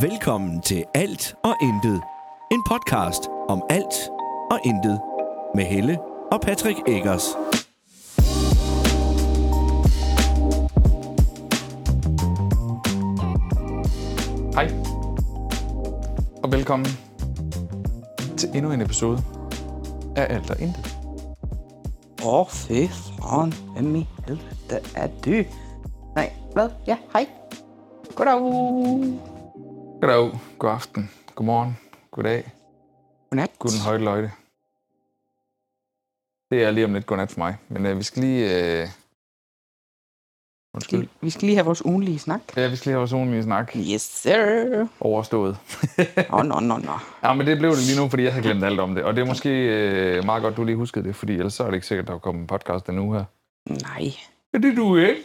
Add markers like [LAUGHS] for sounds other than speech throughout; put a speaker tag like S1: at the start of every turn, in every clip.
S1: Velkommen til Alt og Intet. En podcast om alt og intet. Med Helle og Patrick Eggers.
S2: Hej, og velkommen til endnu en episode af Alt og Intet.
S3: Åh, oh, fy faen. Hvem i helvede er du? Nej, hvad? Ja, hej. Goddag.
S2: Goddag, god aften, godmorgen, goddag,
S3: Godnat.
S2: guten højde løjde. Det er lige om lidt godnat for mig, men øh, vi skal lige... Øh... Undskyld.
S3: Skal- Vi skal lige have vores ugenlige snak.
S2: Ja, vi skal lige have vores ugenlige snak
S3: Yes, sir.
S2: overstået.
S3: Åh, nå, nå, nå.
S2: Ja, men det blev det lige nu, fordi jeg har glemt alt om det. Og det er måske øh, meget godt, du lige huskede det, fordi ellers så er det ikke sikkert, at der kommer en podcast endnu her.
S3: Nej.
S2: Ja, det er du ikke.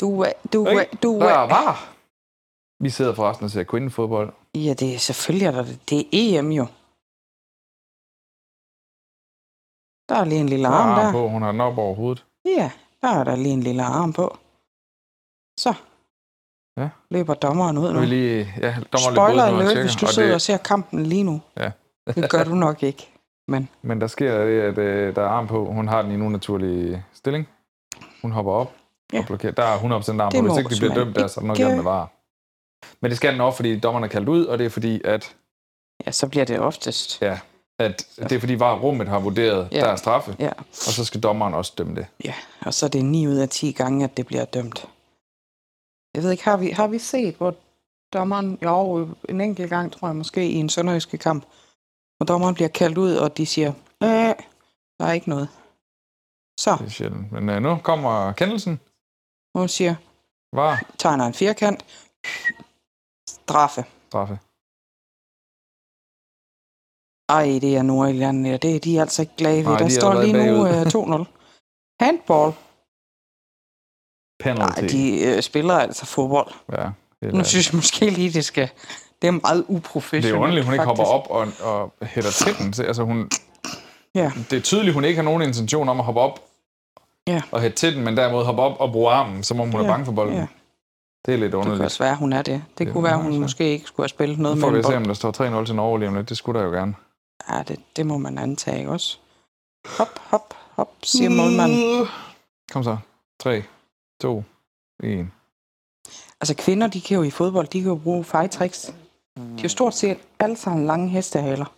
S3: Du er, du
S2: Hey,
S3: er, du
S2: Der
S3: er.
S2: var. Vi sidder forresten og ser kvindefodbold.
S3: Ja, det er selvfølgelig, er der det. det er EM jo. Der er lige en lille
S2: Hun har
S3: arm
S2: arm
S3: der.
S2: Ah, på, hun har den op over hovedet.
S3: Ja, der er der lige en lille arm på. Så.
S2: Ja.
S3: Løber dommeren ud
S2: Nu
S3: nu.
S2: er vi lige, ja, dommer
S3: Spoiler
S2: lidt
S3: alert, hvis du sidder og ser kampen lige nu.
S2: Ja.
S3: det gør du nok ikke.
S2: Men der sker det, at øh, der er arm på. Hun har den i en unaturlig stilling. Hun hopper op ja.
S3: Ja.
S2: og blokerer. Der er 100% arm
S3: Det
S2: på. Hvis
S3: må
S2: ikke de bliver
S3: man
S2: dømt der, så er der noget
S3: ikke-
S2: galt med var. Men det skal den også, fordi dommeren er kaldt ud, og det er fordi, at,
S3: Ja, så bliver det oftest.
S2: at det er fordi var rummet har vurderet, ja.
S3: Ja.
S2: der er straffe,
S3: Ja,
S2: og så skal dommeren også dømme det.
S3: og så er det 9 ud af 10 gange, at det bliver dømt. Jeg ved ikke, har vi, har vi set, hvor dommeren, jo, en enkelt gang, tror jeg måske, i en sønderjyske kamp, hvor dommeren bliver kaldt ud, og de siger, øh, der er ikke noget. Så,
S2: Det er sjældent. Men øh, nu kommer kendelsen.
S3: hun siger,
S2: Var
S3: tegner en firkant, straffe.
S2: straffe.
S3: Ej, det er Nordjylland, ja, det er de altså ikke glade ved.
S2: Nej,
S3: Der
S2: de er
S3: står lige nu
S2: allerede
S3: øh, 2-0. Handball. Nej,
S2: Penalty.
S3: de øh, spiller altså fodbold.
S2: Ja, det
S3: Nu
S2: er,
S3: synes jeg måske lige, det skal... Det er meget uprofessionelt.
S2: det er underligt, hun ikke
S3: faktisk.
S2: hopper op og, og hætter til den. Så, Altså, hun,
S3: Ja,
S2: det er tydeligt, hun ikke har nogen intention om at hoppe op
S3: Ja.
S2: og hætte til den, men derimod hoppe op og bruge armen, som om hun er
S3: Ja,
S2: bange for bolden.
S3: ja.
S2: Det er lidt
S3: det kunne
S2: underligt.
S3: også være, hun er det. Det
S2: Det
S3: kunne
S2: er hun
S3: være, hun
S2: også, ja.
S3: måske ikke skulle have spillet noget
S2: Nu
S3: med
S2: får vi
S3: en
S2: se,
S3: bold.
S2: om der står 3-0 til Norge lige om lidt. Det skulle der jo gerne.
S3: Ja, det, det må man antage, ikke også? Hop, hop, hop, siger målmanden.
S2: Kom så. 3, 2, 1.
S3: Altså kvinder, de kan jo i fodbold, de kan jo bruge fejtricks. De er jo stort set alle sammen lange hestehaler.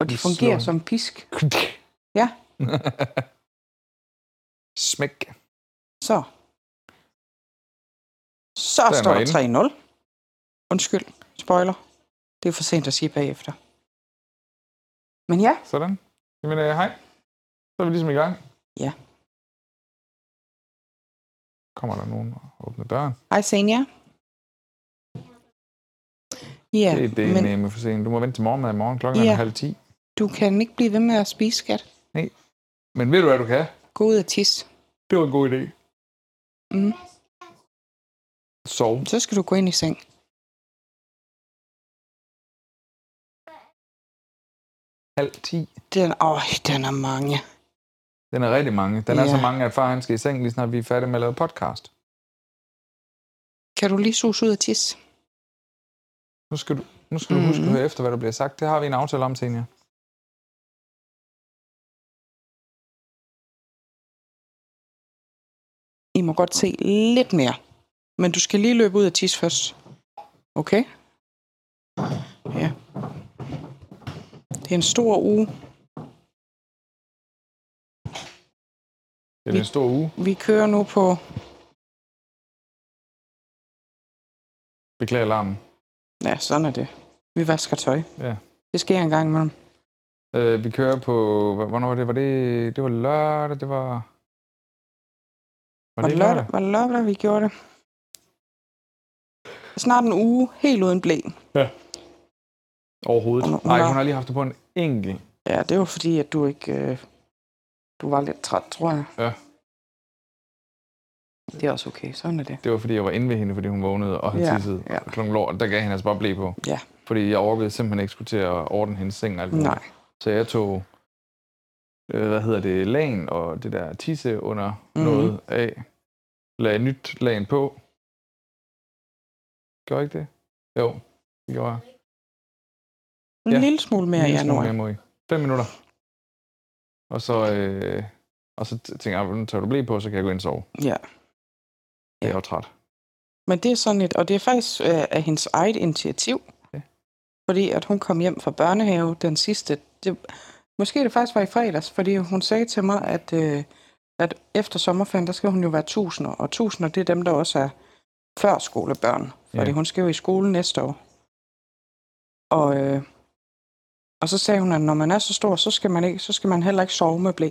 S3: Og de
S2: De slår
S3: fungerer
S2: hende.
S3: som pisk. [LAUGHS] Ja.
S2: Smæk.
S3: Så. Så
S2: Den
S3: står
S2: var inde.
S3: der 3-0. Undskyld, spoiler. Det er for sent at sige bagefter. Men ja,
S2: Sådan. Jamen, øh, hej. Så er vi ligesom i gang.
S3: Ja.
S2: Kommer der nogen og åbner døren?
S3: Hej Senja. Ja,
S2: det, er- det er
S3: men
S2: nemlig for sent. Du må vente til morgenmad i morgen klokken
S3: Ja.
S2: ja. halv 10.
S3: du kan ikke blive ved med at spise, skat.
S2: Men ved du, hvad du kan?
S3: Gå ud og tisse.
S2: Det var en god idé.
S3: Mm.
S2: Sov.
S3: Så skal du gå ind i seng.
S2: Halv 10.
S3: Den, åh, den er mange.
S2: Den er rigtig mange. Den er
S3: Ja.
S2: så mange, at far han skal i seng, lige snart vi er færdige med at lave podcast.
S3: Kan du lige suge ud og tisse?
S2: Nu skal du, nu skal du
S3: Mhm.
S2: huske at høre efter, hvad der bliver sagt. Det har vi en aftale om, Senja.
S3: I må godt se lidt mere. Men du skal lige løbe ud og tisse først. Okay? Ja. Det er en stor uge.
S2: Det er en stor uge.
S3: Vi kører nu på...
S2: Beklager alarmen.
S3: Ja, sådan er det. Vi vasker tøj.
S2: Ja.
S3: Det sker en gang imellem.
S2: Øh, vi kører på... hv- Hvornår var det? Var det, det var lørdag, det var... Var
S3: Var
S2: det
S3: det
S2: ikke lørdag?
S3: lørdag, var det lørdag, vi gjorde det? Snart en uge, helt uden blæ.
S2: Overhovedet.
S3: Hun- hun
S2: Nej,
S3: har-
S2: hun har lige haft det på en enkelt.
S3: Ja, det var fordi, at du ikke... Øh, du var lidt træt, tror jeg.
S2: Ja.
S3: Det er også okay, sådan er det.
S2: Det var, fordi jeg var inde ved hende, fordi hun vågnede og havde
S3: Ja,
S2: tisset
S3: ja.
S2: klokken lort. Der gav hende altså bare blæ på.
S3: Ja.
S2: Fordi jeg overvejede simpelthen ikke skulle til at ordne hendes seng. og Alt muligt.
S3: Nej,
S2: Så jeg tog, øh, hvad hedder det, lagen og det der tisse under mm.
S3: Mhm.
S2: noget af. Lagde nyt lagen på. Gjorde jeg ikke det? Jo, det gjorde jeg.
S3: En
S2: Ja.
S3: ja. lille smule mere,
S2: Lille
S3: ja,
S2: smule
S3: nu.
S2: mere mod i. Fem minutter. Og så, øh, og så t- tænker jeg, "Ah, nu tager du blive på, så kan jeg gå ind og sove.
S3: Ja.
S2: Jeg er
S3: Ja.
S2: jo træt.
S3: Men det er sådan et, og det er faktisk øh, af hendes eget initiativ.
S2: Ja.
S3: Ja. Fordi at hun kom hjem fra børnehave den sidste, det, måske det faktisk var i fredags, fordi hun sagde til mig, at, øh, at efter sommerferien, der skal hun jo være tusinder, og tusinder det er dem, der også er før skolebørn.
S2: Ja.
S3: Fordi hun skal jo i skole næste år. Og, øh, og så sagde hun, at når man er så stor, så skal man, ikke, så skal man heller ikke sove med blæ.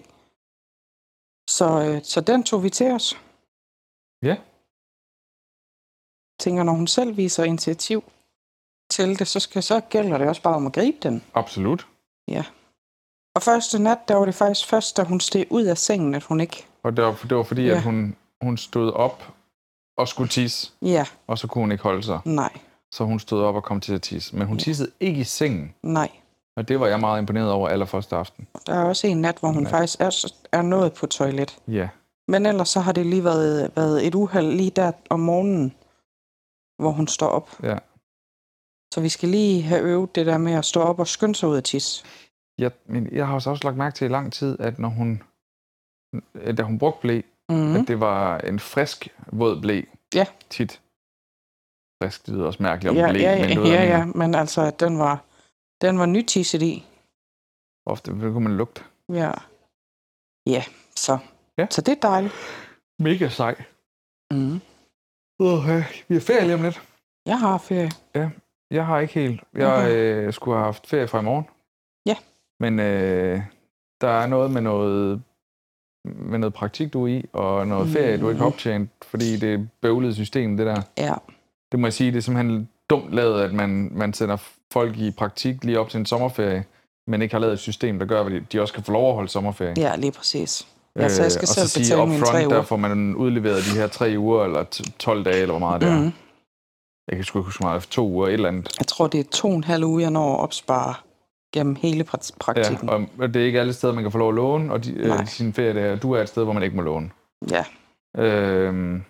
S3: Så, øh, så den tog vi til os.
S2: Ja.
S3: tænker, når hun selv viser initiativ til det, så, skal, så gælder det også bare om at gribe den.
S2: Absolut.
S3: Og første nat, der var det faktisk først, da hun steg ud af sengen, at hun ikke...
S2: Og det var, det var fordi, ja.
S3: Ja.
S2: at hun, hun stod op og skulle tisse,
S3: Ja,
S2: og så kunne hun ikke holde sig.
S3: nej,
S2: Så hun stod op og kom til at tisse. Men hun
S3: Ja.
S2: tissede ikke i sengen,
S3: nej.
S2: og det var jeg meget imponeret over allerførste aften.
S3: Der er også en nat, hvor hun
S2: Nej.
S3: nej. faktisk er, er nået på toilet.
S2: Ja,
S3: Men ellers så har det lige været, været et uheld lige der om morgenen, hvor hun står op.
S2: Ja.
S3: Så vi skal lige have øvet det der med at stå op og skynde sig ud af tis.
S2: jeg, men jeg har også, også lagt mærke til i lang tid, at når hun, da hun brugte blæ, mm.
S3: Mm.
S2: at det var en frisk, våd blæ.
S3: Ja.
S2: Tit. Frisk, det lyder også mærkeligt om
S3: Ja,
S2: blæ,
S3: ja,
S2: men du
S3: ja,
S2: ved, hvad jeg
S3: ja,
S2: mener.
S3: men altså, at den var, den var nytisset i.
S2: Ofte det kunne man lugte.
S3: Ja. Ja, så.
S2: Ja. Mhm.
S3: Så det er dejligt.
S2: Mega sej.
S3: Mm.
S2: Okay. Vi er ferie lige om lidt.
S3: Jeg har ferie.
S2: Jeg har ikke helt. Jeg øh, skulle have haft ferie fra i morgen.
S3: Ja.
S2: Men øh, der er noget med noget med noget praktik, du er i, og noget
S3: Mm.
S2: ferie, du ikke har optjent, fordi det er et bøvlet system, det der.
S3: Ja.
S2: Det må jeg sige, det er simpelthen dumt lavet, at man, man sender folk i praktik lige op til en sommerferie, men ikke har lavet et system, der gør, at de også kan få lov at holde sommerferie. Øh,
S3: ja, lige præcis. Ja, så jeg skal
S2: og
S3: selv
S2: så sige
S3: betale mine tre
S2: upfront,
S3: uger.
S2: der får man udleveret de her tre uger, eller t- 12 dage, eller hvor meget det er.
S3: Mm.
S2: Jeg kan sgu ikke huske hvor meget, to uger, et eller andet.
S3: Jeg tror, det er to og en halv uge, jeg når at opspare gennem hele prakt- praktikken.
S2: Ja, og- og det er ikke alle steder, man kan få lov at låne, og de, øh,
S3: Nej.
S2: sine feriedage, du er et sted, hvor man ikke må låne.
S3: Ja.
S2: Øhm,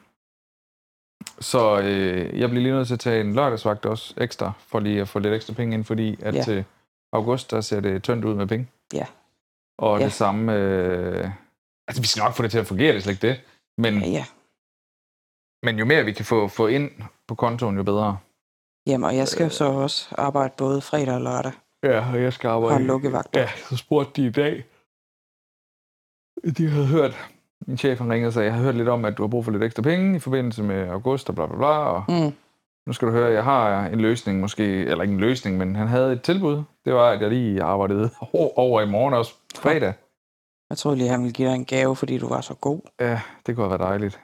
S2: så øh, jeg bliver lige nødt til at tage en lørdagsvagt også ekstra, for lige at få lidt ekstra penge ind, fordi at
S3: Ja.
S2: til august, der ser det tyndt ud med penge.
S3: Ja.
S2: Og
S3: Ja.
S2: det samme... Øh, altså, vi skal nok få det til at fungere, det er slet ikke det. Men,
S3: Ja, ja.
S2: men jo mere vi kan få, få ind på kontoen, jo bedre.
S3: Jamen, og jeg skal jo
S2: Øh.
S3: så også arbejde både fredag og lørdag.
S2: Ja, og jeg skal arbejde...
S3: Har lukkevagter.
S2: Ja, så spurgte de i dag. De havde hørt, min chef han ringede og sagde, jeg har hørt lidt om, at du har brug for lidt ekstra penge i forbindelse med august og bla bla bla, og
S3: Mm.
S2: nu skal du høre, jeg har en løsning måske, eller ikke en løsning, men han havde et tilbud. Det var, at jeg lige arbejdede [LAUGHS] o- over i morgen også fredag.
S3: Jeg troede lige, han ville give dig en gave, fordi du var så god.
S2: Ja, det kunne have været dejligt.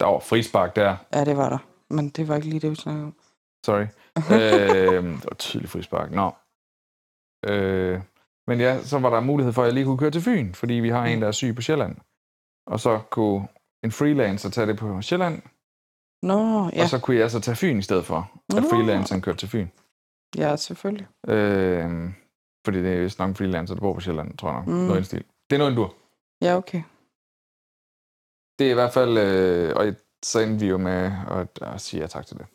S2: Der var frispark der,
S3: Ja, det var der. Men det var ikke lige det, vi snakkede om. [LAUGHS]
S2: sorry. øh, det var tydeligt frispark, nå. Øh, men ja, så var der mulighed for, at jeg lige kunne køre til Fyn, fordi vi har
S3: Mm.
S2: en, der er syg på Sjælland. Og så kunne en freelancer tage det på Sjælland,
S3: Nå,
S2: ja.
S3: ja.
S2: og så kunne jeg så tage Fyn i stedet for, at
S3: Nå.
S2: freelanceren kørte til Fyn.
S3: Ja, selvfølgelig.
S2: Øh, fordi det er vist nok en freelancer, der bor på Sjælland, tror jeg nok. Mm.
S3: Mm.
S2: Noget i den stil. Det er noget, du
S3: Ja, okay.
S2: Det er i hvert fald, øh, og så endte vi jo med at, at sige ja tak til det.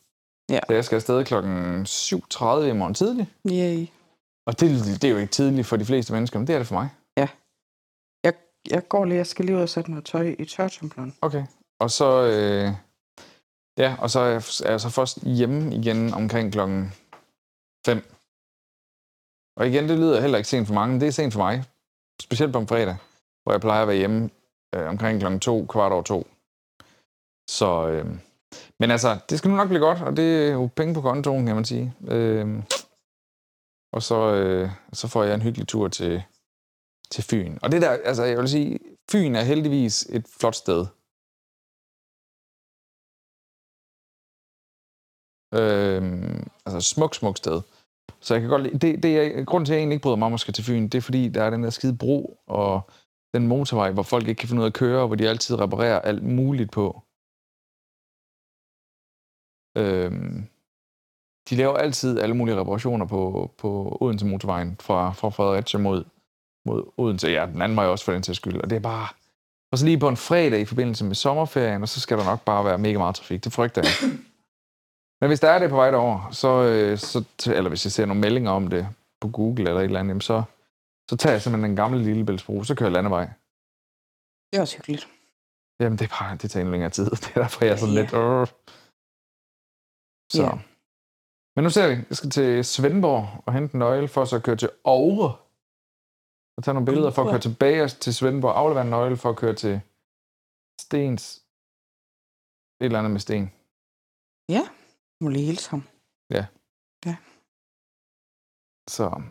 S3: Ja.
S2: Så jeg skal afsted kl. 7.30 i morgen tidlig.
S3: Yay.
S2: Og det, det er jo ikke tidligt for de fleste mennesker, men det er det for mig.
S3: Jeg går lige, jeg skal lige ud og sætte noget tøj i tørtumbleren.
S2: Okay. Og så, øh, ja, og så er jeg, er jeg så først hjemme igen omkring klokken 5. Og igen, det lyder heller ikke sent for mange, men det er sent for mig. Specielt på en fredag, hvor jeg plejer at være hjemme øh, omkring klokken 2, kvart over 2. Så, øh, men altså, det skal nu nok blive godt, og det er jo penge på kontoen, kan man sige. Øh, og så, øh, så får jeg en hyggelig tur til, til Fyn. Og det der, altså jeg vil sige, Fyn er heldigvis et flot sted. Øhm, altså et smukt, smukt sted. Så jeg kan godt lide, det, det er, grunden til, at jeg egentlig ikke bryder mig om at skal til Fyn, det er fordi, der er den der skide bro og den motorvej, hvor folk ikke kan finde ud af at køre, og hvor de altid reparerer alt muligt på. Øhm, de laver altid alle mulige reparationer på, på Odense motorvejen fra, fra Fredericia mod mod Odense. Ja, den anden vej også for den sags skyld. Og det er bare... Og så lige på en fredag i forbindelse med sommerferien, og så skal der nok bare være mega meget trafik. Det frygter jeg. Men hvis der er det på vej derover, så, øh, så t- eller hvis jeg ser nogle meldinger om det på Google eller et eller andet, jamen så, så tager jeg simpelthen den gamle Lillebæltsbro, så kører jeg landevej.
S3: Det er også hyggeligt.
S2: Jamen, det, er bare, det tager en længere tid. [LAUGHS] Det er derfor, jeg er sådan
S3: Ja.
S2: lidt... Øh. Så.
S3: Ja.
S2: Men nu ser vi. Jeg skal til Svendborg og hente en nøgle, for så at køre til Aure. Og tage nogle billeder for at
S3: Aure.
S2: køre tilbage til Svendborg. Aflevere en nøgle for at køre til Stens. Et eller andet med sten.
S3: Må lige hilse ham.
S2: Så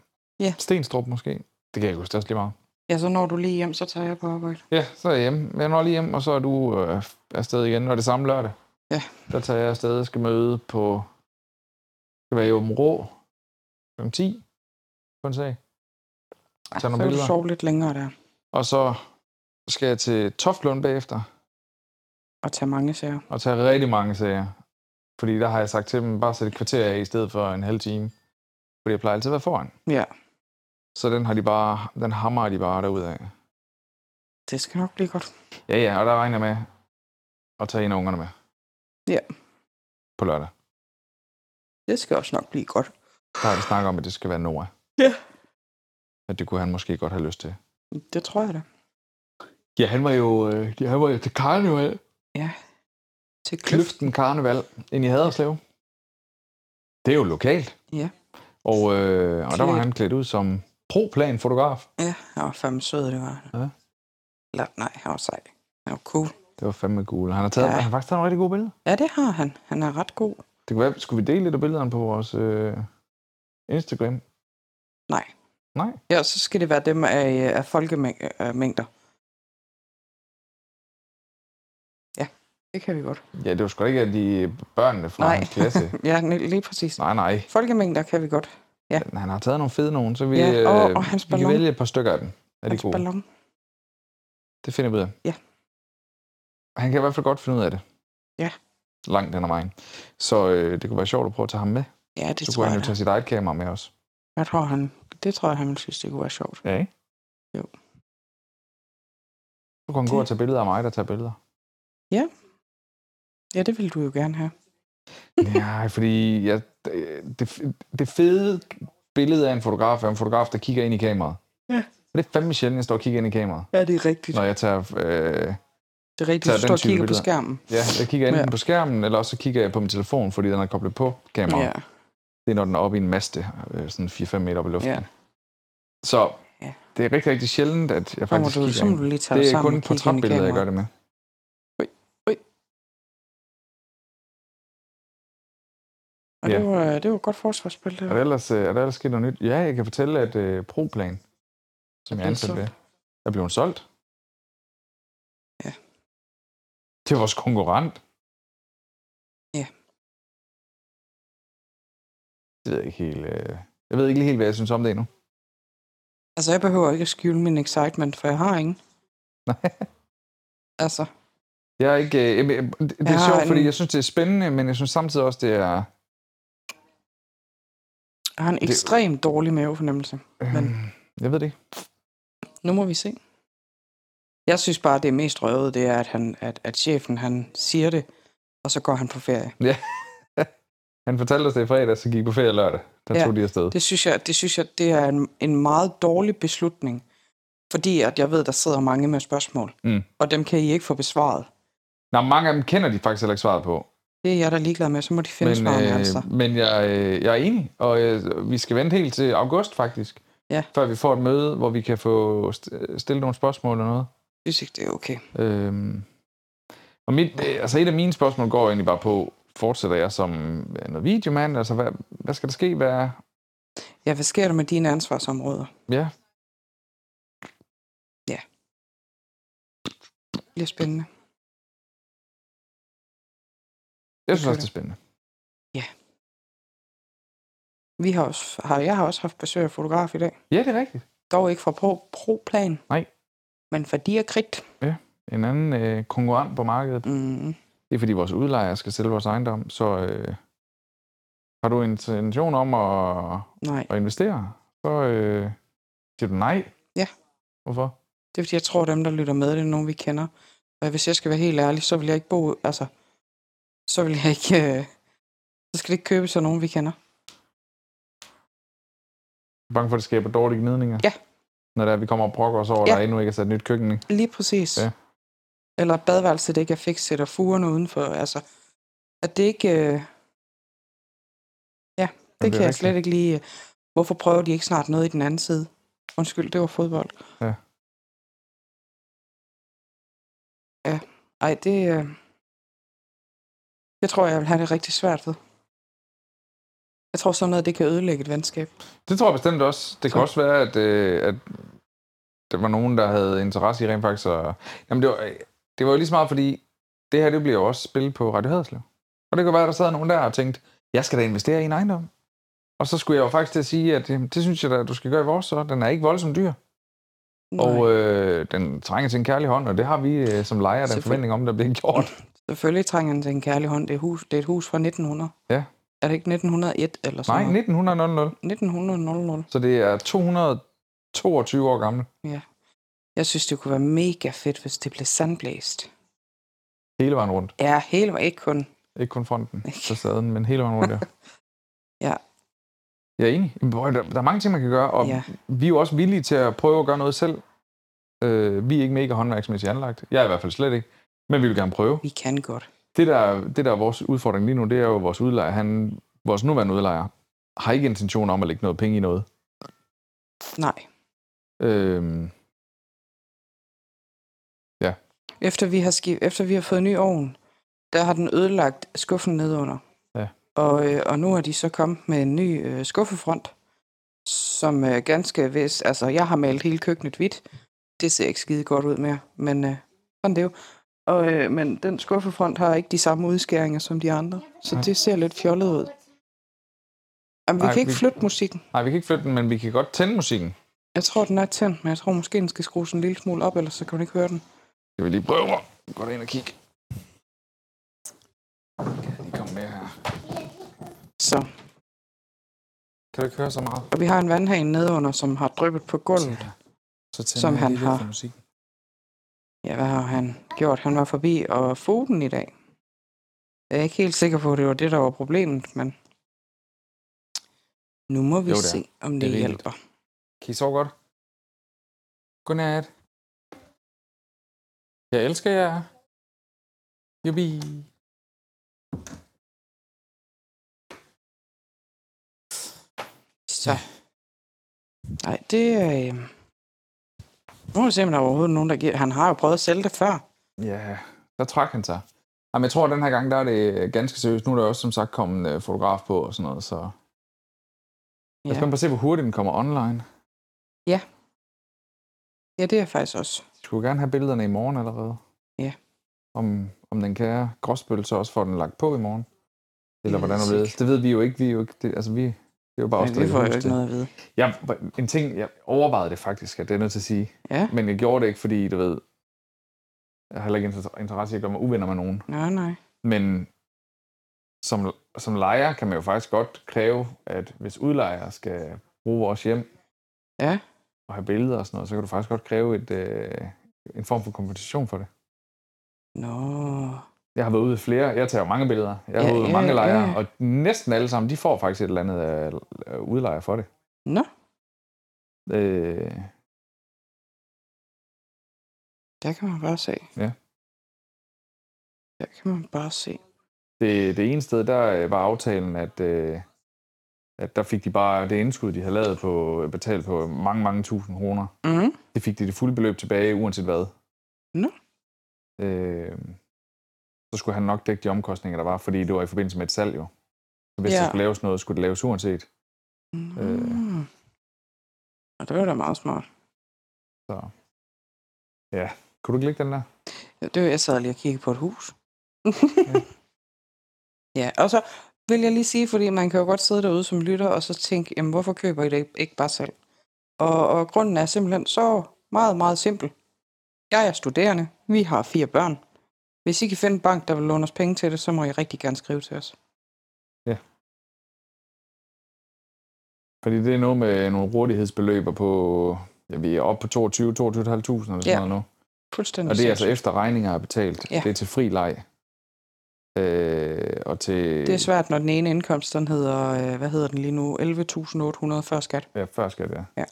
S3: Ja.
S2: Stenstrup måske. Det kan jeg ikke huske, det er også lige meget.
S3: Ja, så når du lige hjem, så tager jeg på arbejde.
S2: Ja, så er jeg hjemme. Jeg når lige hjem, og så er du øh, afsted igen, og det er samme lørdag.
S3: Ja.
S2: Der tager jeg afsted og skal møde på... Skal være i Åben Rå. Kl. 10. På en sag.
S3: Ej,
S2: Tag nogle
S3: så vil du
S2: billeder.
S3: sove lidt længere der. Og,
S2: Og så skal jeg til Toftlund bagefter
S3: og tage mange sager.
S2: og tage rigtig mange sager. Fordi der har jeg sagt til dem, bare sæt et kvarter af i stedet for en halv time. Fordi jeg plejer altid at være foran.
S3: Ja,
S2: Så den har de bare, den hammer de bare derud af.
S3: det skal nok blive godt.
S2: Ja, ja, og der regner jeg med at tage en af ungerne med.
S3: Ja.
S2: På lørdag.
S3: Det skal også nok blive godt.
S2: Der har vi snakket om, at det skal være Nora.
S3: Ja.
S2: At det kunne han måske godt have lyst til.
S3: Det tror jeg da.
S2: Ja, han var jo, øh, ja, han var jo til karneval.
S3: Til kløft.
S2: Kløften Karneval ind i Haderslev. Det er jo lokalt.
S3: Ja.
S2: Og, øh, og der var
S3: Klædt.
S2: han klædt ud som proplan fotograf.
S3: Ja, han var fandme sød, det var han.
S2: Ja.
S3: Eller, nej, han var sej. Han var cool.
S2: Det var fandme cool. Han har, taget,
S3: Ja.
S2: ja. han har faktisk taget nogle rigtig gode billeder.
S3: Ja, det har han. Han er ret god.
S2: Det kunne være, skulle vi dele lidt af billederne på vores øh, Instagram?
S3: Nej.
S2: Nej.
S3: Ja, så skal det være dem af, øh, af folkemængder. Ja, det kan vi godt.
S2: Ja, det var sgu da ikke de børnene fra
S3: Nej.
S2: hans
S3: [LAUGHS]
S2: klasse.
S3: Ja, lige lige præcis.
S2: Nej, nej.
S3: Folkemængder kan vi godt.
S2: Han har taget nogle fede nogen, så vi, øh,
S3: Ja, og- og hans
S2: vi kan
S3: ballon.
S2: vælge et par stykker af dem. Er de
S3: Hans
S2: gode?
S3: Altså ballon.
S2: Det finder vi ud af.
S3: Ja.
S2: Han kan i hvert fald godt finde ud af det.
S3: Ja.
S2: Langt den ad vejen. Så øh, det kunne være sjovt at prøve at tage ham med.
S3: Ja, det
S2: så
S3: tror
S2: kunne han
S3: jeg.
S2: jo tage
S3: da.
S2: sit eget kamera med også.
S3: Jeg tror, han, det tror jeg, han ville synes, det kunne være sjovt.
S2: Ja, ikke?
S3: Jo.
S2: Så kunne han gå
S3: Det-
S2: og tage billeder af mig, der tager billeder.
S3: Ja, det ville du jo gerne have.
S2: Nej, fordi jeg, det, det fede billede af en fotograf er en fotograf, der kigger ind i kameraet.
S3: Ja.
S2: Og det er fandme sjældent, jeg står og kigger ind i kameraet.
S3: Ja, det er rigtigt.
S2: Når jeg tager... Øh,
S3: Det er rigtigt,
S2: Tag
S3: du
S2: den
S3: står og
S2: type
S3: kigger på
S2: billeder.
S3: skærmen.
S2: ja, jeg kigger enten
S3: Ja.
S2: ja. på skærmen, eller også så kigger jeg på min telefon, fordi den er koblet på kameraet.
S3: Ja,
S2: Det er, når den er oppe i en maste, øh, sådan 4-5 meter oppe i luften.
S3: Ja.
S2: Ja. Så
S3: Ja.
S2: det er rigtig, rigtig sjældent, at jeg
S3: så må
S2: faktisk
S3: du, så
S2: kigger
S3: må
S2: ind.
S3: du lige tage dig
S2: Det er
S3: sammen
S2: kun
S3: og kigge ind i
S2: portrætbilleder, jeg gør
S3: kameraet.
S2: det med.
S3: Ui, ui. Og
S2: Ja.
S3: det, var, det var et godt forsvarsspil, det
S2: Er
S3: var.
S2: der ellers, øh, er der ellers sket noget nyt? Ja, jeg kan fortælle, at uh, ProPlan, som
S3: Er
S2: jeg er ansat
S3: blevet
S2: ved, er blevet solgt.
S3: Ja.
S2: Det var vores konkurrent.
S3: Ja.
S2: Det ved jeg ikke helt... Øh, jeg ved ikke lige helt, hvad jeg synes om det endnu.
S3: Altså, jeg behøver ikke at skjule min excitement, for jeg har ingen.
S2: Nej. [LAUGHS]
S3: Altså,
S2: Jeg er ikke... Øh, jamen, jeg- det det
S3: Jeg
S2: er
S3: har
S2: sjovt, fordi
S3: en-
S2: jeg synes, det er spændende, men jeg synes samtidig også, det er...
S3: jeg har en
S2: Det-
S3: ekstremt dårlig mavefornemmelse. Men-
S2: Øh, jeg ved det ikke.
S3: Nu må vi se. Jeg synes bare, det mest røvede, det er, at, han, at, at chefen han siger det, og så går han på ferie.
S2: Han fortalte os det i fredag, så gik på ferie lørdag. Der
S3: Ja.
S2: tog de afsted.
S3: Det synes jeg, det, synes jeg, det er en, en meget dårlig beslutning, fordi at jeg ved, der sidder mange med spørgsmål,
S2: Mm.
S3: og dem kan I ikke få besvaret.
S2: Nå, mange af dem kender de faktisk heller ikke svaret på.
S3: Det er jeg, der er ligeglad med, så må de finde men,
S2: Men,
S3: svarene øh, altså.
S2: men jeg, øh, jeg er enig, og øh, vi skal vente helt til august faktisk,
S3: Ja.
S2: før vi får et møde, hvor vi kan få st- stillet nogle spørgsmål eller noget.
S3: Jeg synes ikke, det er okay.
S2: Øhm, og mit, øh, altså et af mine spørgsmål går egentlig bare på, fortsætter jeg som noget videomand? Altså, hvad, hvad skal der ske? Hvad er,
S3: Ja, hvad sker der med dine ansvarsområder?
S2: ja,
S3: Det bliver spændende.
S2: jeg synes
S3: kører
S2: også, det er spændende.
S3: Vi har også, har, jeg har også haft besøg af fotograf i dag.
S2: Ja, det er rigtigt.
S3: Dog ikke fra pro, pro-plan.
S2: Nej.
S3: Men fra Diakrit.
S2: En anden øh, konkurrent på markedet,
S3: Mm,
S2: det er fordi vores udlejere skal sælge vores ejendom, så øh, har du intention om at,
S3: nej,
S2: at investere, så øh, siger du nej.
S3: Ja.
S2: Hvorfor?
S3: det er fordi, jeg tror, dem, der lytter med, det er nogen, vi kender. Og hvis jeg skal være helt ærlig, så vil jeg ikke bo... Altså, så vil jeg ikke... Øh, Så skal det ikke købes af nogen, vi kender.
S2: Bange for, at det skaber dårlige gnidninger?
S3: Ja.
S2: Når der vi kommer og brokker os over, ja.
S3: Ja.
S2: der endnu ikke er sat nyt køkken. i.
S3: Lige præcis.
S2: Ja.
S3: Eller et badeværelse, det ikke er fikset, og fugerne udenfor. Altså, at det ikke... Øh...
S2: det er
S3: Ja, det, det kan jeg
S2: rigtigt.
S3: slet ikke lige... øh, Hvorfor prøver de ikke snart noget i den anden side? Undskyld, det var fodbold.
S2: Ja.
S3: Ja, ej, det... Øh... Jeg tror, jeg vil have det rigtig svært ved. Jeg tror sådan noget, det kan ødelægge et venskab.
S2: Det tror jeg bestemt også. Det kan
S3: Så-
S2: også være, at, øh, at der var nogen, der havde interesse i rent faktisk. Og... Jamen, det var, øh, det var jo lige så meget, fordi det her det bliver jo også spillet på Radio Haderslev. Og det kan være, at der sad nogen der og tænkte, jeg skal da investere i en ejendom. Og så skulle jeg jo faktisk til at sige, at jamen, det synes jeg da, du skal gøre i vores, så den er ikke voldsomt dyr.
S3: Nej,
S2: Og øh, den trænger til en kærlig hånd, og det har vi øh, som lejer den
S3: Selvfølgelig.
S2: forventning om, der bliver gjort.
S3: Selvfølgelig trænger den til en kærlig hånd. Det er, hus, det er et hus fra 1900.
S2: Ja.
S3: Er det ikke 1901 eller sådan
S2: Nej,
S3: noget?
S2: 1900.
S3: 1900.
S2: Så det er 222 år gammel.
S3: Jeg synes, det kunne være mega fedt, hvis det blev sandblæst.
S2: Hele vejen rundt.
S3: Ja, hele var ikke kun.
S2: Ikke kun fronten,
S3: [LAUGHS] Ikke.
S2: facaden, men hele vejen rundt, ja.
S3: [LAUGHS] Ja.
S2: Jeg er enig. Jamen, prøv at høre, Der, der er mange ting, man kan gøre, og ja.
S3: Ja.
S2: vi er jo også villige til at prøve at gøre noget selv. Øh, vi er ikke mega håndværksmæssigt anlagt. Jeg er i hvert fald slet ikke. Men vi vil gerne prøve.
S3: Vi kan godt.
S2: Det der, det der er vores udfordring lige nu, det er jo at vores udlejer. Han, vores nuværende udlejer har ikke intention om at lægge noget penge i noget.
S3: Nej.
S2: Øh,
S3: Efter vi har, skib, efter vi har fået ny ovn, der har den ødelagt skuffen nedunder.
S2: Ja.
S3: Og, øh, og nu er de så kommet med en ny øh, skuffefront, som øh, ganske vist... Altså, jeg har malet hele køkkenet hvidt. Det ser ikke skide godt ud mere, men øh, sådan det er jo. Og, øh, men den skuffefront har ikke de samme udskæringer som de andre, så
S2: Nej.
S3: det ser lidt fjollet ud. Jamen, vi
S2: Nej,
S3: kan ikke
S2: vi-
S3: flytte musikken.
S2: nej, vi kan ikke flytte den, men vi kan godt tænde musikken.
S3: Jeg tror, den er tændt, men jeg tror måske, den skal skrues en lille smule op, ellers så kan man ikke høre den.
S2: Skal vi lige prøve at gå ind og kigge? Kan jeg lige komme med her?
S3: Så.
S2: Kan du ikke høre så meget?
S3: Og vi har en vandhane nedenunder, som har dryppet på gulvet.
S2: Så tænder
S3: Som
S2: jeg
S3: han
S2: lige lidt
S3: har.
S2: for musikken.
S3: Ja, hvad har han gjort? Han var forbi og fod den i dag. Jeg er ikke helt sikker på, at det var det, der var problemet, men nu må vi
S2: Jo,
S3: jo,
S2: det er.
S3: se, om det,
S2: Det er
S3: det
S2: rigeligt.
S3: hjælper.
S2: Kan I sove godt? Godnat. Jeg elsker jer. Jubi.
S3: Så. Nej, det er... Øh... Nu må vi se, om der er overhovedet nogen, der giver... Han har jo prøvet at sælge det før.
S2: Ja, der trak han sig. Jamen, jeg tror, at den her gang, der er det ganske seriøst. Nu er der også, som sagt, kommet en øh, fotograf på og sådan noget, så... Jeg er
S3: Ja.
S2: spændt på at se, hvor hurtigt den kommer online.
S3: Ja, det er faktisk også.
S2: De skulle gerne have billederne i morgen allerede.
S3: Ja.
S2: Om, om den kære gråsbøl så også får den lagt på i morgen. Eller
S3: Ja,
S2: hvordan
S3: det
S2: det
S3: er
S2: ved.
S3: sikkert.
S2: Det ved vi jo ikke. Vi er jo ikke det, altså vi, det er jo bare os,
S3: Men vi
S2: der
S3: får
S2: er i
S3: jo
S2: hus
S3: ikke
S2: til.
S3: noget at vide.
S2: Jeg, en ting, jeg overvejede det faktisk, at det er nødt til at sige.
S3: Ja.
S2: Men jeg gjorde det ikke, fordi du ved, jeg har heller ikke inter- interesse i at gøre mig uvenner med nogen.
S3: Nej, nej.
S2: Men som, som lejer kan man jo faktisk godt kræve, at hvis udlejer skal bruge vores hjem
S3: Ja.
S2: og have billeder og sådan noget, så kan du faktisk godt kræve et, øh, en form for kompensation for det.
S3: Nå.
S2: Jeg har været ude i flere. Jeg tager jo mange billeder. Jeg har ja,
S3: Ja,
S2: været ude i
S3: ja,
S2: mange lejre,
S3: ja.
S2: og næsten alle sammen, de får faktisk et eller andet øh, udlejer for det.
S3: Nå.
S2: Øh,
S3: Der kan man bare se.
S2: Ja.
S3: Der kan man bare se.
S2: det, det ene sted, der øh, var aftalen, at, øh, at der fik de bare det indskud, de havde lavet på, betalt på mange, mange tusind kroner.
S3: Mm.
S2: Det fik de det fulde beløb tilbage, uanset hvad.
S3: Nå.
S2: Øh, så skulle han nok dække de omkostninger, der var, fordi det var i forbindelse med et salg jo. Så hvis ja.
S3: Ja.
S2: der skulle laves noget, skulle det laves uanset. Øh.
S3: Mm. Og det var da meget smart.
S2: Så ja, kunne du ikke lægge den der?
S3: Ja, Det var, jeg sad lige og kiggede på et [LAUGHS] hus. ja, og så vil jeg lige sige, fordi man kan jo godt sidde derude som lytter, og så tænke, jamen hvorfor køber I det ikke bare selv? Og, og grunden er simpelthen så meget, meget simpel. Jeg er studerende, vi har fire børn. Hvis I kan finde en bank, der vil låne os penge til det, så må I rigtig gerne skrive til os.
S2: Fordi det er noget med nogle rådighedsbeløber på, ja, vi er oppe på 22, 22.500 eller sådan
S3: Ja,
S2: noget nu.
S3: Fuldstændig
S2: Og det er altså
S3: sindssygt.
S2: efter regninger er betalt.
S3: Ja.
S2: Det er til fri leg. Øh, og til...
S3: Det er svært, når den ene indkomst, den hedder, øh, hvad hedder den lige nu, 11.800 før skat.
S2: Ja, før skat, ja.
S3: Ja.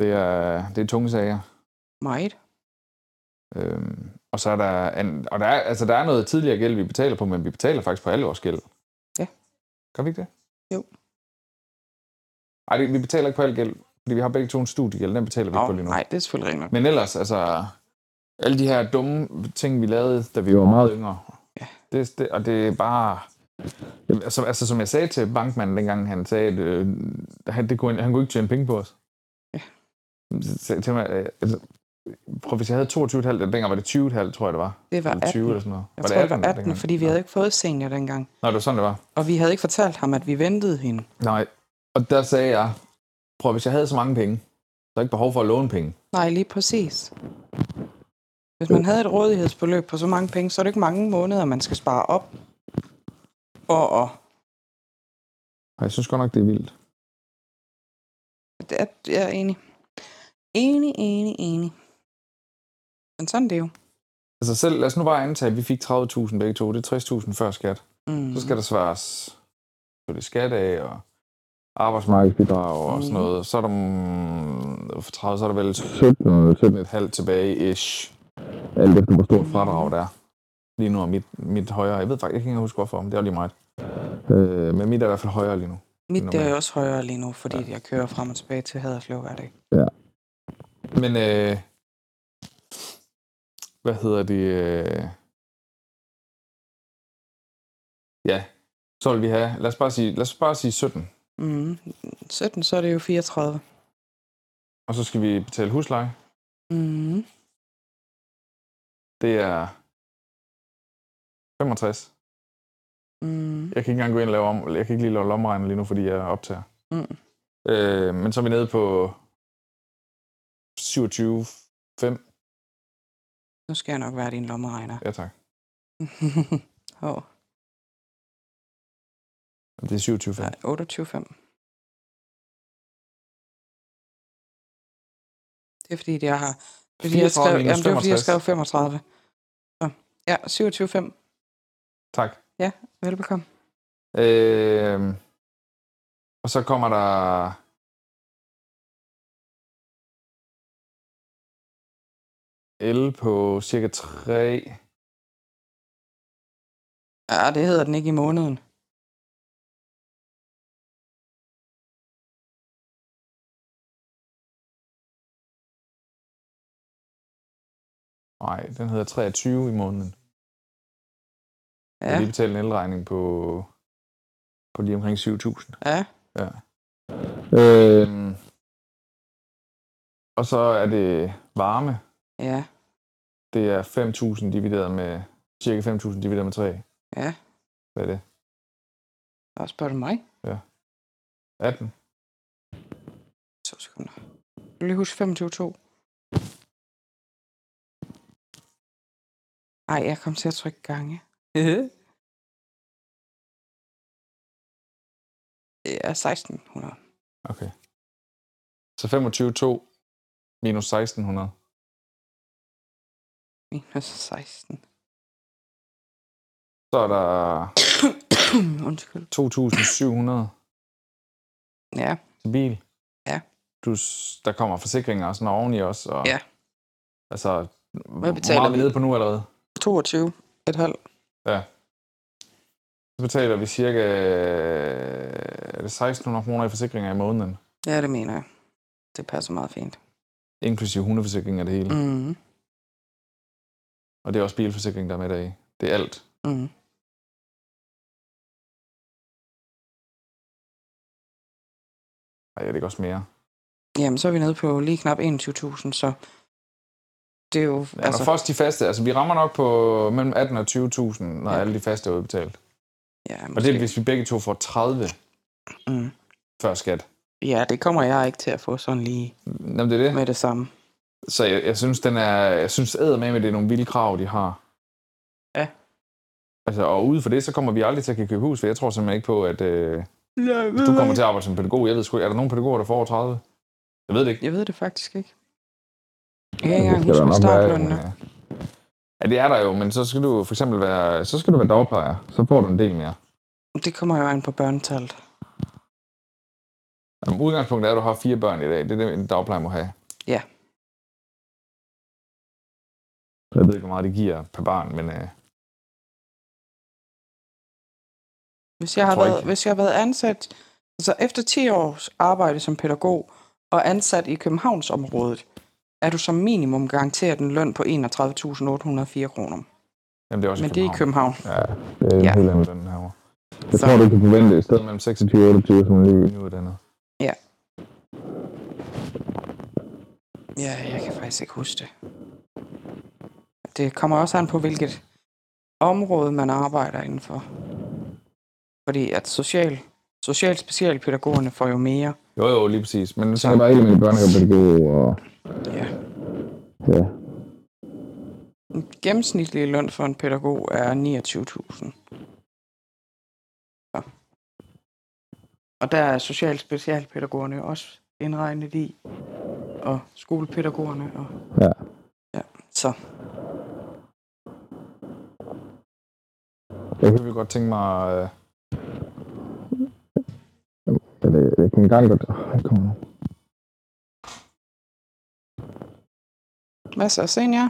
S2: Det er, det er tunge sager.
S3: Meget.
S2: Øhm, og så er der, an, og der er, altså der er noget tidligere gæld, vi betaler på, men vi betaler faktisk på alle vores gæld.
S3: Ja.
S2: Gør vi ikke det?
S3: Jo.
S2: Ej, det, vi betaler ikke på al gæld, fordi vi har begge to en studiegæld, den betaler vi ikke på
S3: Nå,
S2: lige nu.
S3: nej, det er selvfølgelig rigtigt. nok.
S2: Men ellers, altså, alle de her dumme ting, vi lavede, da vi var meget yngre,
S3: Ja.
S2: det, det, og det er bare... Altså, altså, som jeg sagde til bankmanden dengang, han sagde, at øh, han, det kunne, han kunne ikke tjene penge på os.
S3: Ja.
S2: Så sagde jeg Til mig, øh, altså, prøv, hvis jeg havde 22,5, eller dengang var det 20,5, tror jeg, det var.
S3: Det var
S2: Eller 20 eller
S3: 18.
S2: sådan noget.
S3: Jeg tror, det var 18,
S2: dengang?
S3: fordi vi
S2: Nå.
S3: havde ikke fået senior dengang.
S2: Nå, det var sådan, det var.
S3: Og vi havde ikke fortalt ham, at vi ventede hende.
S2: Nej. Og der sagde jeg, prøv, hvis jeg havde så mange penge, så er jeg ikke behov for at låne penge.
S3: Nej, lige præcis. Hvis man havde et rådighedsbeløb på så mange penge, så er det ikke mange måneder, man skal spare op. Og, og
S2: Og jeg synes godt nok, det er vildt.
S3: det er, jeg er enig. Enig, enig, enig. Men sådan er det jo.
S2: Altså selv, lad os nu bare antage, at vi fik 30.000 begge to. Det er 60.000 før skat.
S3: Mm.
S2: Så skal der svares selvfølgelig skat af, og arbejdsmarkedsbidrag og sådan
S3: Mm.
S2: noget. Så er der, mm, for 30, så er der vel 17, 17 et halvt tilbage, ish. Mm. Alt efter, hvor stort fradrag der er. Lige nu er mit, mit højere. Jeg ved faktisk ikke, jeg kan huske hvorfor, men det er lige meget. Øh, men mit er i hvert fald højere lige nu.
S3: Mit det er
S2: normalt.
S3: jo også højere lige nu, fordi jeg kører frem og tilbage til Haderslev hver dag.
S2: Men, øh, hvad hedder det? Øh, ja, så vil vi have, lad os bare sige, lad os bare sige 17.
S3: Mm. 17, så er det jo 34.
S2: Og så skal vi betale husleje.
S3: Mm.
S2: Det er 65.
S3: Mm.
S2: Jeg kan ikke engang gå ind og lave om. Jeg kan ikke lige lave lomregner lige nu, fordi jeg optager.
S3: Mm.
S2: Øh, men så er vi nede på 27,5.
S3: Nu skal jeg nok være din lommeregner. [LAUGHS]
S2: Ja tak.
S3: Hov.
S2: Det er 27,5.
S3: Nej, 28,5. Det er fordi, det, jeg har... Det er, fordi, jeg
S2: 34
S3: skrev,
S2: minus
S3: jamen, det er fordi, jeg
S2: 65.
S3: skrev 35. Så, ja, 27,5.
S2: Tak.
S3: Velbekomme.
S2: Øh, og så kommer der... El på cirka 3.
S3: Ja, det hedder den ikke i måneden.
S2: Nej, den hedder 23 i måneden. Ja. Jeg
S3: Ja,
S2: har lige betalt en elregning på, på lige omkring 7.000.
S3: ja.
S2: Øhm. Og så er det varme.
S3: Ja,
S2: Det er 5.000 divideret med, cirka 5.000 divideret med 3.
S3: Ja.
S2: Hvad er det?
S3: der spørger du mig.
S2: 18?
S3: To sekunder. Du kan lige huske 25,2. Ej, jeg kom til at trykke gange. [LAUGHS] Ja, 1600.
S2: Okay. Så 25.2 minus 1.600.
S3: Minus 16.
S2: Så er der
S3: [COUGHS] Undskyld.
S2: 2.700
S3: Ja,
S2: til bil.
S3: Ja.
S2: Plus, der kommer forsikringer og sådan noget oveni os. Og,
S3: Ja.
S2: Altså,
S3: Hvad
S2: hvor
S3: betaler
S2: meget er vi
S3: vi?
S2: nede på nu allerede?
S3: 22. Et halvt.
S2: Så betaler vi cirka øh, er det 1600 kroner i forsikringer i måneden,
S3: Ja, det mener jeg. Det passer meget fint.
S2: inklusive hundeforsikring og det hele. Mm.
S3: Mm.
S2: Og det er også bilforsikring, der er med deri. Det er alt.
S3: Mm.
S2: Ej, er det ikke også mere?
S3: Jamen, så er vi nede på lige knap 21.000, så det er jo...
S2: Ja, altså, når først de faste, altså vi rammer nok på mellem 18 og 20.000, når
S3: Ja.
S2: ja. alle de faste er udbetalt.
S3: ja,
S2: Og det er, hvis vi begge to får 30
S3: mm.
S2: før skat.
S3: ja, det kommer jeg ikke til at få sådan lige
S2: Jamen, det er det.
S3: med det samme.
S2: Så jeg, jeg synes, den er, jeg synes eddermame, det er nogle vilde krav, de har.
S3: Ja.
S2: Altså, og ud for det, så kommer vi aldrig til at kan købe hus, for jeg tror simpelthen ikke på, at... Øh, Hvis
S1: Mm.
S2: du kommer til at arbejde som pædagog, jeg ved sgu ikke, er der nogen pædagoger, der får over 30? Jeg ved det ikke.
S3: Jeg ved det faktisk ikke. Jeg kan ikke engang huske, hvad startlønnen er.
S2: Ja. Ja, det er der jo, men så skal du for eksempel være, så skal du være dagplejer. Så får du en del mere.
S3: Det kommer jo an på børnetallet.
S2: Jamen, udgangspunktet er, at du har fire børn i dag. Det er det, en dagplejer må have.
S3: Ja.
S2: Så Jeg ved ikke, hvor meget det giver per barn, men øh,
S3: Hvis jeg, har
S2: Jeg tror
S3: været,
S2: ikke.
S3: hvis jeg har været ansat, altså efter 10 års arbejde som pædagog og ansat i Københavnsområdet, er du som minimum garanteret en løn på 31.804 kroner.
S2: jamen, det er også
S3: Men
S2: i
S3: det er i København.
S2: Ja, det er
S3: Ja.
S2: ja. helt andet den her år. Jeg
S3: Så-
S2: tror, du kan forvente et sted mellem 26 og 28, som lige nyuddannet.
S3: Ja, jeg kan faktisk ikke huske det. Det kommer også an på, hvilket område man arbejder indenfor. Fordi at social, social specialpædagogerne får jo mere.
S2: Jo, jo, lige præcis. Men
S3: Så-
S2: så er bare alle mine børnehavepædagoger og...
S3: Ja.
S2: Ja.
S3: Den gennemsnitlige løn for en pædagog er 29.000. Så. Og der er social specialpædagogerne jo også indregnet i, og skolepædagogerne. Og...
S2: Ja.
S3: ja. Så
S2: Jeg kunne virkelig godt tænke mig... Øh... Jeg, jeg kan gerne godt... Åh, jeg kommer nu.
S3: masser af senior.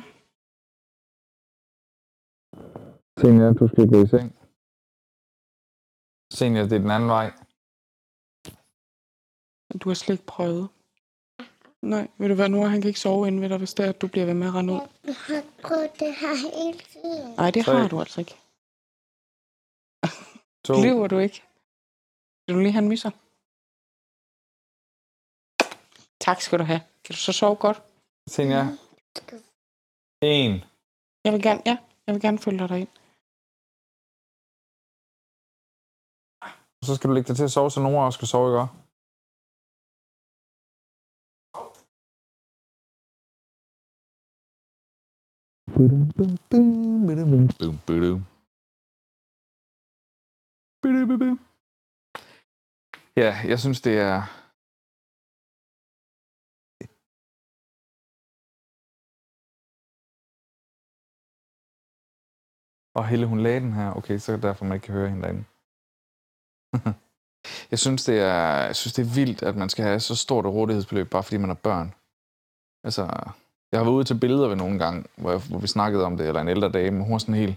S2: Senior, du skal gå i seng. Senior, det er den anden vej.
S3: Du har slet ikke prøvet. Nej, vil du være nu, han kan ikke sove inden ved dig, hvis det er, at du bliver ved med at rende ud.
S4: Jeg har prøvet det her hele tiden.
S3: Nej, det
S2: Tre.
S3: har du altså ikke.
S2: To.
S3: Lever du ikke? Vil du lige have en misser? Tak skal du have. Kan du så sove godt?
S2: Senior. En.
S3: Jeg vil gerne, ja, jeg vil gerne følge dig ind.
S2: Så skal du lægge dig til at sove, så Nora også skal sove, ikke også? Ja, jeg synes, det er... Og Helle, hun lagde den her. Okay, så er det derfor, man ikke kan høre hende derinde. Jeg synes, det er, jeg synes, det er vildt, at man skal have så stort et rådighedsbeløb, bare fordi man har børn. Altså, jeg har været ude til billeder ved nogle gange, hvor, jeg, hvor vi snakkede om det, eller en ældre dame, og hun var sådan helt...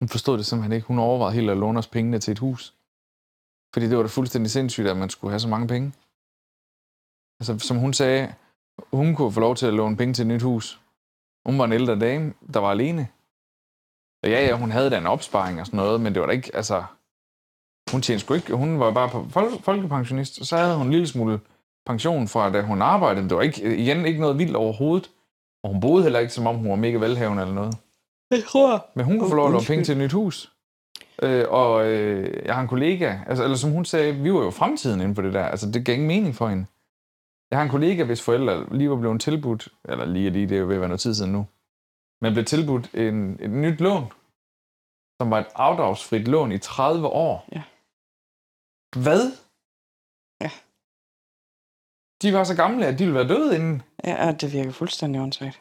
S2: Hun forstod det simpelthen ikke. Hun overvejede helt at låne os pengene til et hus. Fordi det var da fuldstændig sindssygt, at man skulle have så mange penge. Altså, som hun sagde, hun kunne få lov til at låne penge til et nyt hus. Hun var en ældre dame, der var alene. Og ja, ja, hun havde da en opsparing og sådan noget, men det var da ikke, altså hun tjente sgu ikke. Hun var bare på fol- folkepensionist, og så havde hun en lille smule pension fra, da hun arbejdede. Men det var ikke, igen ikke noget vildt overhovedet. Og hun boede heller ikke, som om hun var mega velhavende eller noget.
S3: Jeg tror.
S2: Men hun kunne få lov at låne
S3: Undskyld.
S2: penge til et nyt hus. Øh, og øh, jeg har en kollega, altså, eller som hun sagde, vi var jo fremtiden inden for det der. Altså, det gav ingen mening for hende. Jeg har en kollega, hvis forældre lige var blevet tilbudt, eller lige og lige, det er jo ved at være noget tid siden nu, men blev tilbudt en, et nyt lån, som var et afdragsfrit lån i 30 år.
S3: Ja.
S2: Hvad?
S3: Ja.
S2: De var så gamle, at de ville være døde inden.
S3: Ja, ja, det virker fuldstændig åndssvagt.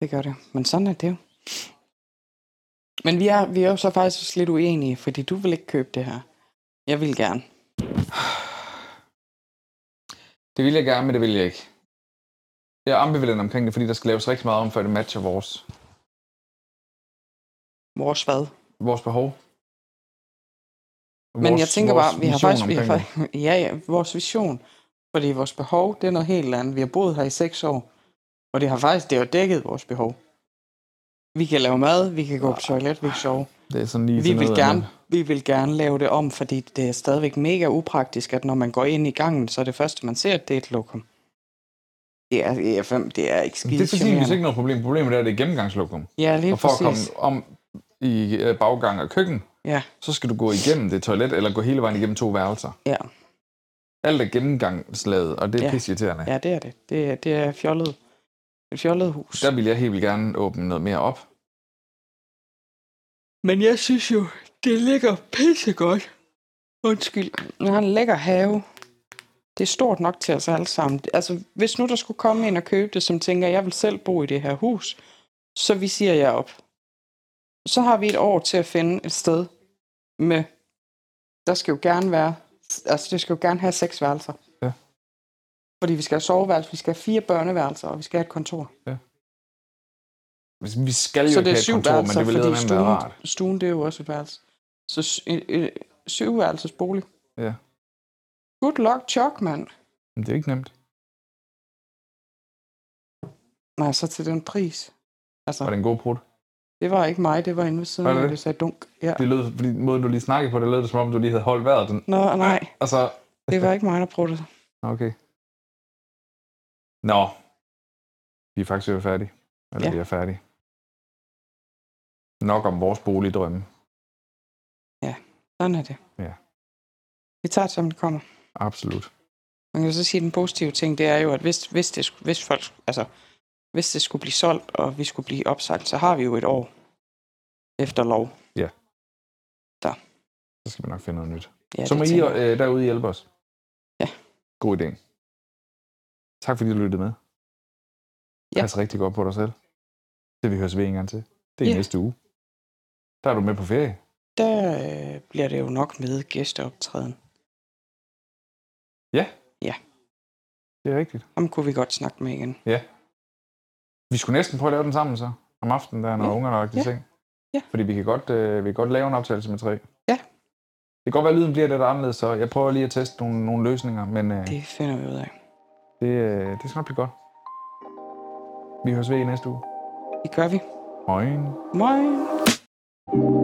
S3: Det gør det. Men sådan er det jo. Men vi er, vi er jo så faktisk også lidt uenige, fordi du vil ikke købe det her. Jeg vil gerne.
S2: Det vil jeg gerne, men det vil jeg ikke. Jeg er ambivalent omkring det, fordi der skal laves rigtig meget om, før det matcher vores,
S3: Vores hvad?
S2: vores behov. Vores,
S3: Men jeg tænker
S2: vores
S3: bare, vi har
S2: vision
S3: faktisk... Vi har,
S2: omkring
S3: fa- ja, ja, vores vision. Fordi vores behov, det er noget helt andet. Vi har boet her i seks år, og det har faktisk det har dækket vores behov. Vi kan lave mad, vi kan gå på toilet, vi kan sove.
S2: det. det er sådan lige
S3: Vi
S2: til
S3: vil,
S2: noget
S3: gerne,
S2: andet.
S3: vi vil gerne lave det om, fordi det er stadigvæk mega upraktisk, at når man går ind i gangen, så er det første, man ser, at det er et lokum. Det er, det er, fem- det er ikke skide
S2: Det er sandsynligvis ikke noget problem. Problemet er, at det er gennemgangslokum.
S3: Ja, lige
S2: Og for at komme
S3: præcis.
S2: om i øh, baggang og køkken,
S3: Ja,
S2: så skal du gå igennem det toilet, eller gå hele vejen igennem to værelser.
S3: ja,
S2: Alt er gennemgangslaget, og det er
S3: Ja.
S2: ja. pisseirriterende. Ja.
S3: ja, det er det. Det er, det er fjollet. Et fjollet hus.
S2: Der vil jeg helt vildt gerne åbne noget mere op.
S3: Men jeg synes jo, det ligger pissegodt. Undskyld. Jeg har en lækker have. Det er stort nok til os alle sammen. Altså, hvis nu der skulle komme en og købe det, som tænker, jeg vil selv bo i det her hus, Så vi siger jer op. Så har vi et år til at finde et sted med... Der skal jo gerne være... Altså, det skal jo gerne have seks værelser.
S2: Ja.
S3: Fordi vi skal have soveværelse, vi skal have fire børneværelser, og vi skal have et kontor.
S2: Hvis- Vi skal jo
S3: Så
S2: ikke
S3: det er
S2: have et
S3: syv
S2: kontor, men
S3: værelser,
S2: det ville
S3: fordi
S2: med være
S3: stuen,
S2: rart.
S3: stuen, det er jo også et værelse. Så sy- en- en- syvværelses bolig.
S2: Ja.
S3: Good luck, chok, mand.
S2: Men det er jo ikke nemt.
S3: Nej, så til den pris. Altså,
S2: Var det en god prut?
S3: det var ikke mig, det var inde ved siden
S2: Var det
S3: af,
S2: det?
S3: det sagde dunk. Ja.
S2: Det lød, fordi måden du lige snakkede på, det lød det, som om, du lige havde holdt vejret den. altså-
S3: Nå, nej,
S2: Og så,
S3: det var ikke mig, der prøvede det.
S2: okay. Nå. Vi er faktisk ved at være færdige. Eller
S3: Ja.
S2: vi er færdige. Nok om vores boligdrømme.
S3: Sådan er det.
S2: Ja.
S3: Vi tager det, som det kommer.
S2: Absolut.
S3: Man kan jo så sige, at den positive ting, det er jo, at hvis, hvis, det, skulle- hvis, folk, altså, hvis det skulle blive solgt, og vi skulle blive opsagt, så har vi jo et år efter lov.
S2: Så skal vi nok finde noget nyt.
S3: Ja,
S2: Ja, så
S3: det
S2: må I
S3: tænker jeg.
S2: øh, derude hjælpe os.
S3: Ja.
S2: God idé. Tak fordi du lyttede med.
S3: Ja.
S2: Ja. Pas rigtig godt på dig selv. Det vi høres ved en gang til. Det er
S3: Ja.
S2: ja. næste uge. Der er du med på ferie.
S3: Der øh, bliver det jo nok med gæsteoptræden.
S2: Det er rigtigt.
S3: Ham kunne vi godt snakke med igen.
S2: Vi skulle næsten prøve at lave den sammen så. Om aftenen, der er når
S3: Ja.
S2: ja. ungerne har lagt i
S3: Ja.
S2: seng.
S3: Ja.
S2: Fordi vi kan, godt, øh, vi kan godt lave en optagelse med tre.
S3: Ja.
S2: Det kan godt være, at lyden bliver lidt anderledes, så jeg prøver lige at teste nogle, nogle løsninger, men øh, det,
S3: Det finder vi ud af.
S2: øh, det skal nok blive godt. Vi høres ved i næste uge.
S3: Det gør vi.
S2: Moin.
S3: Moin!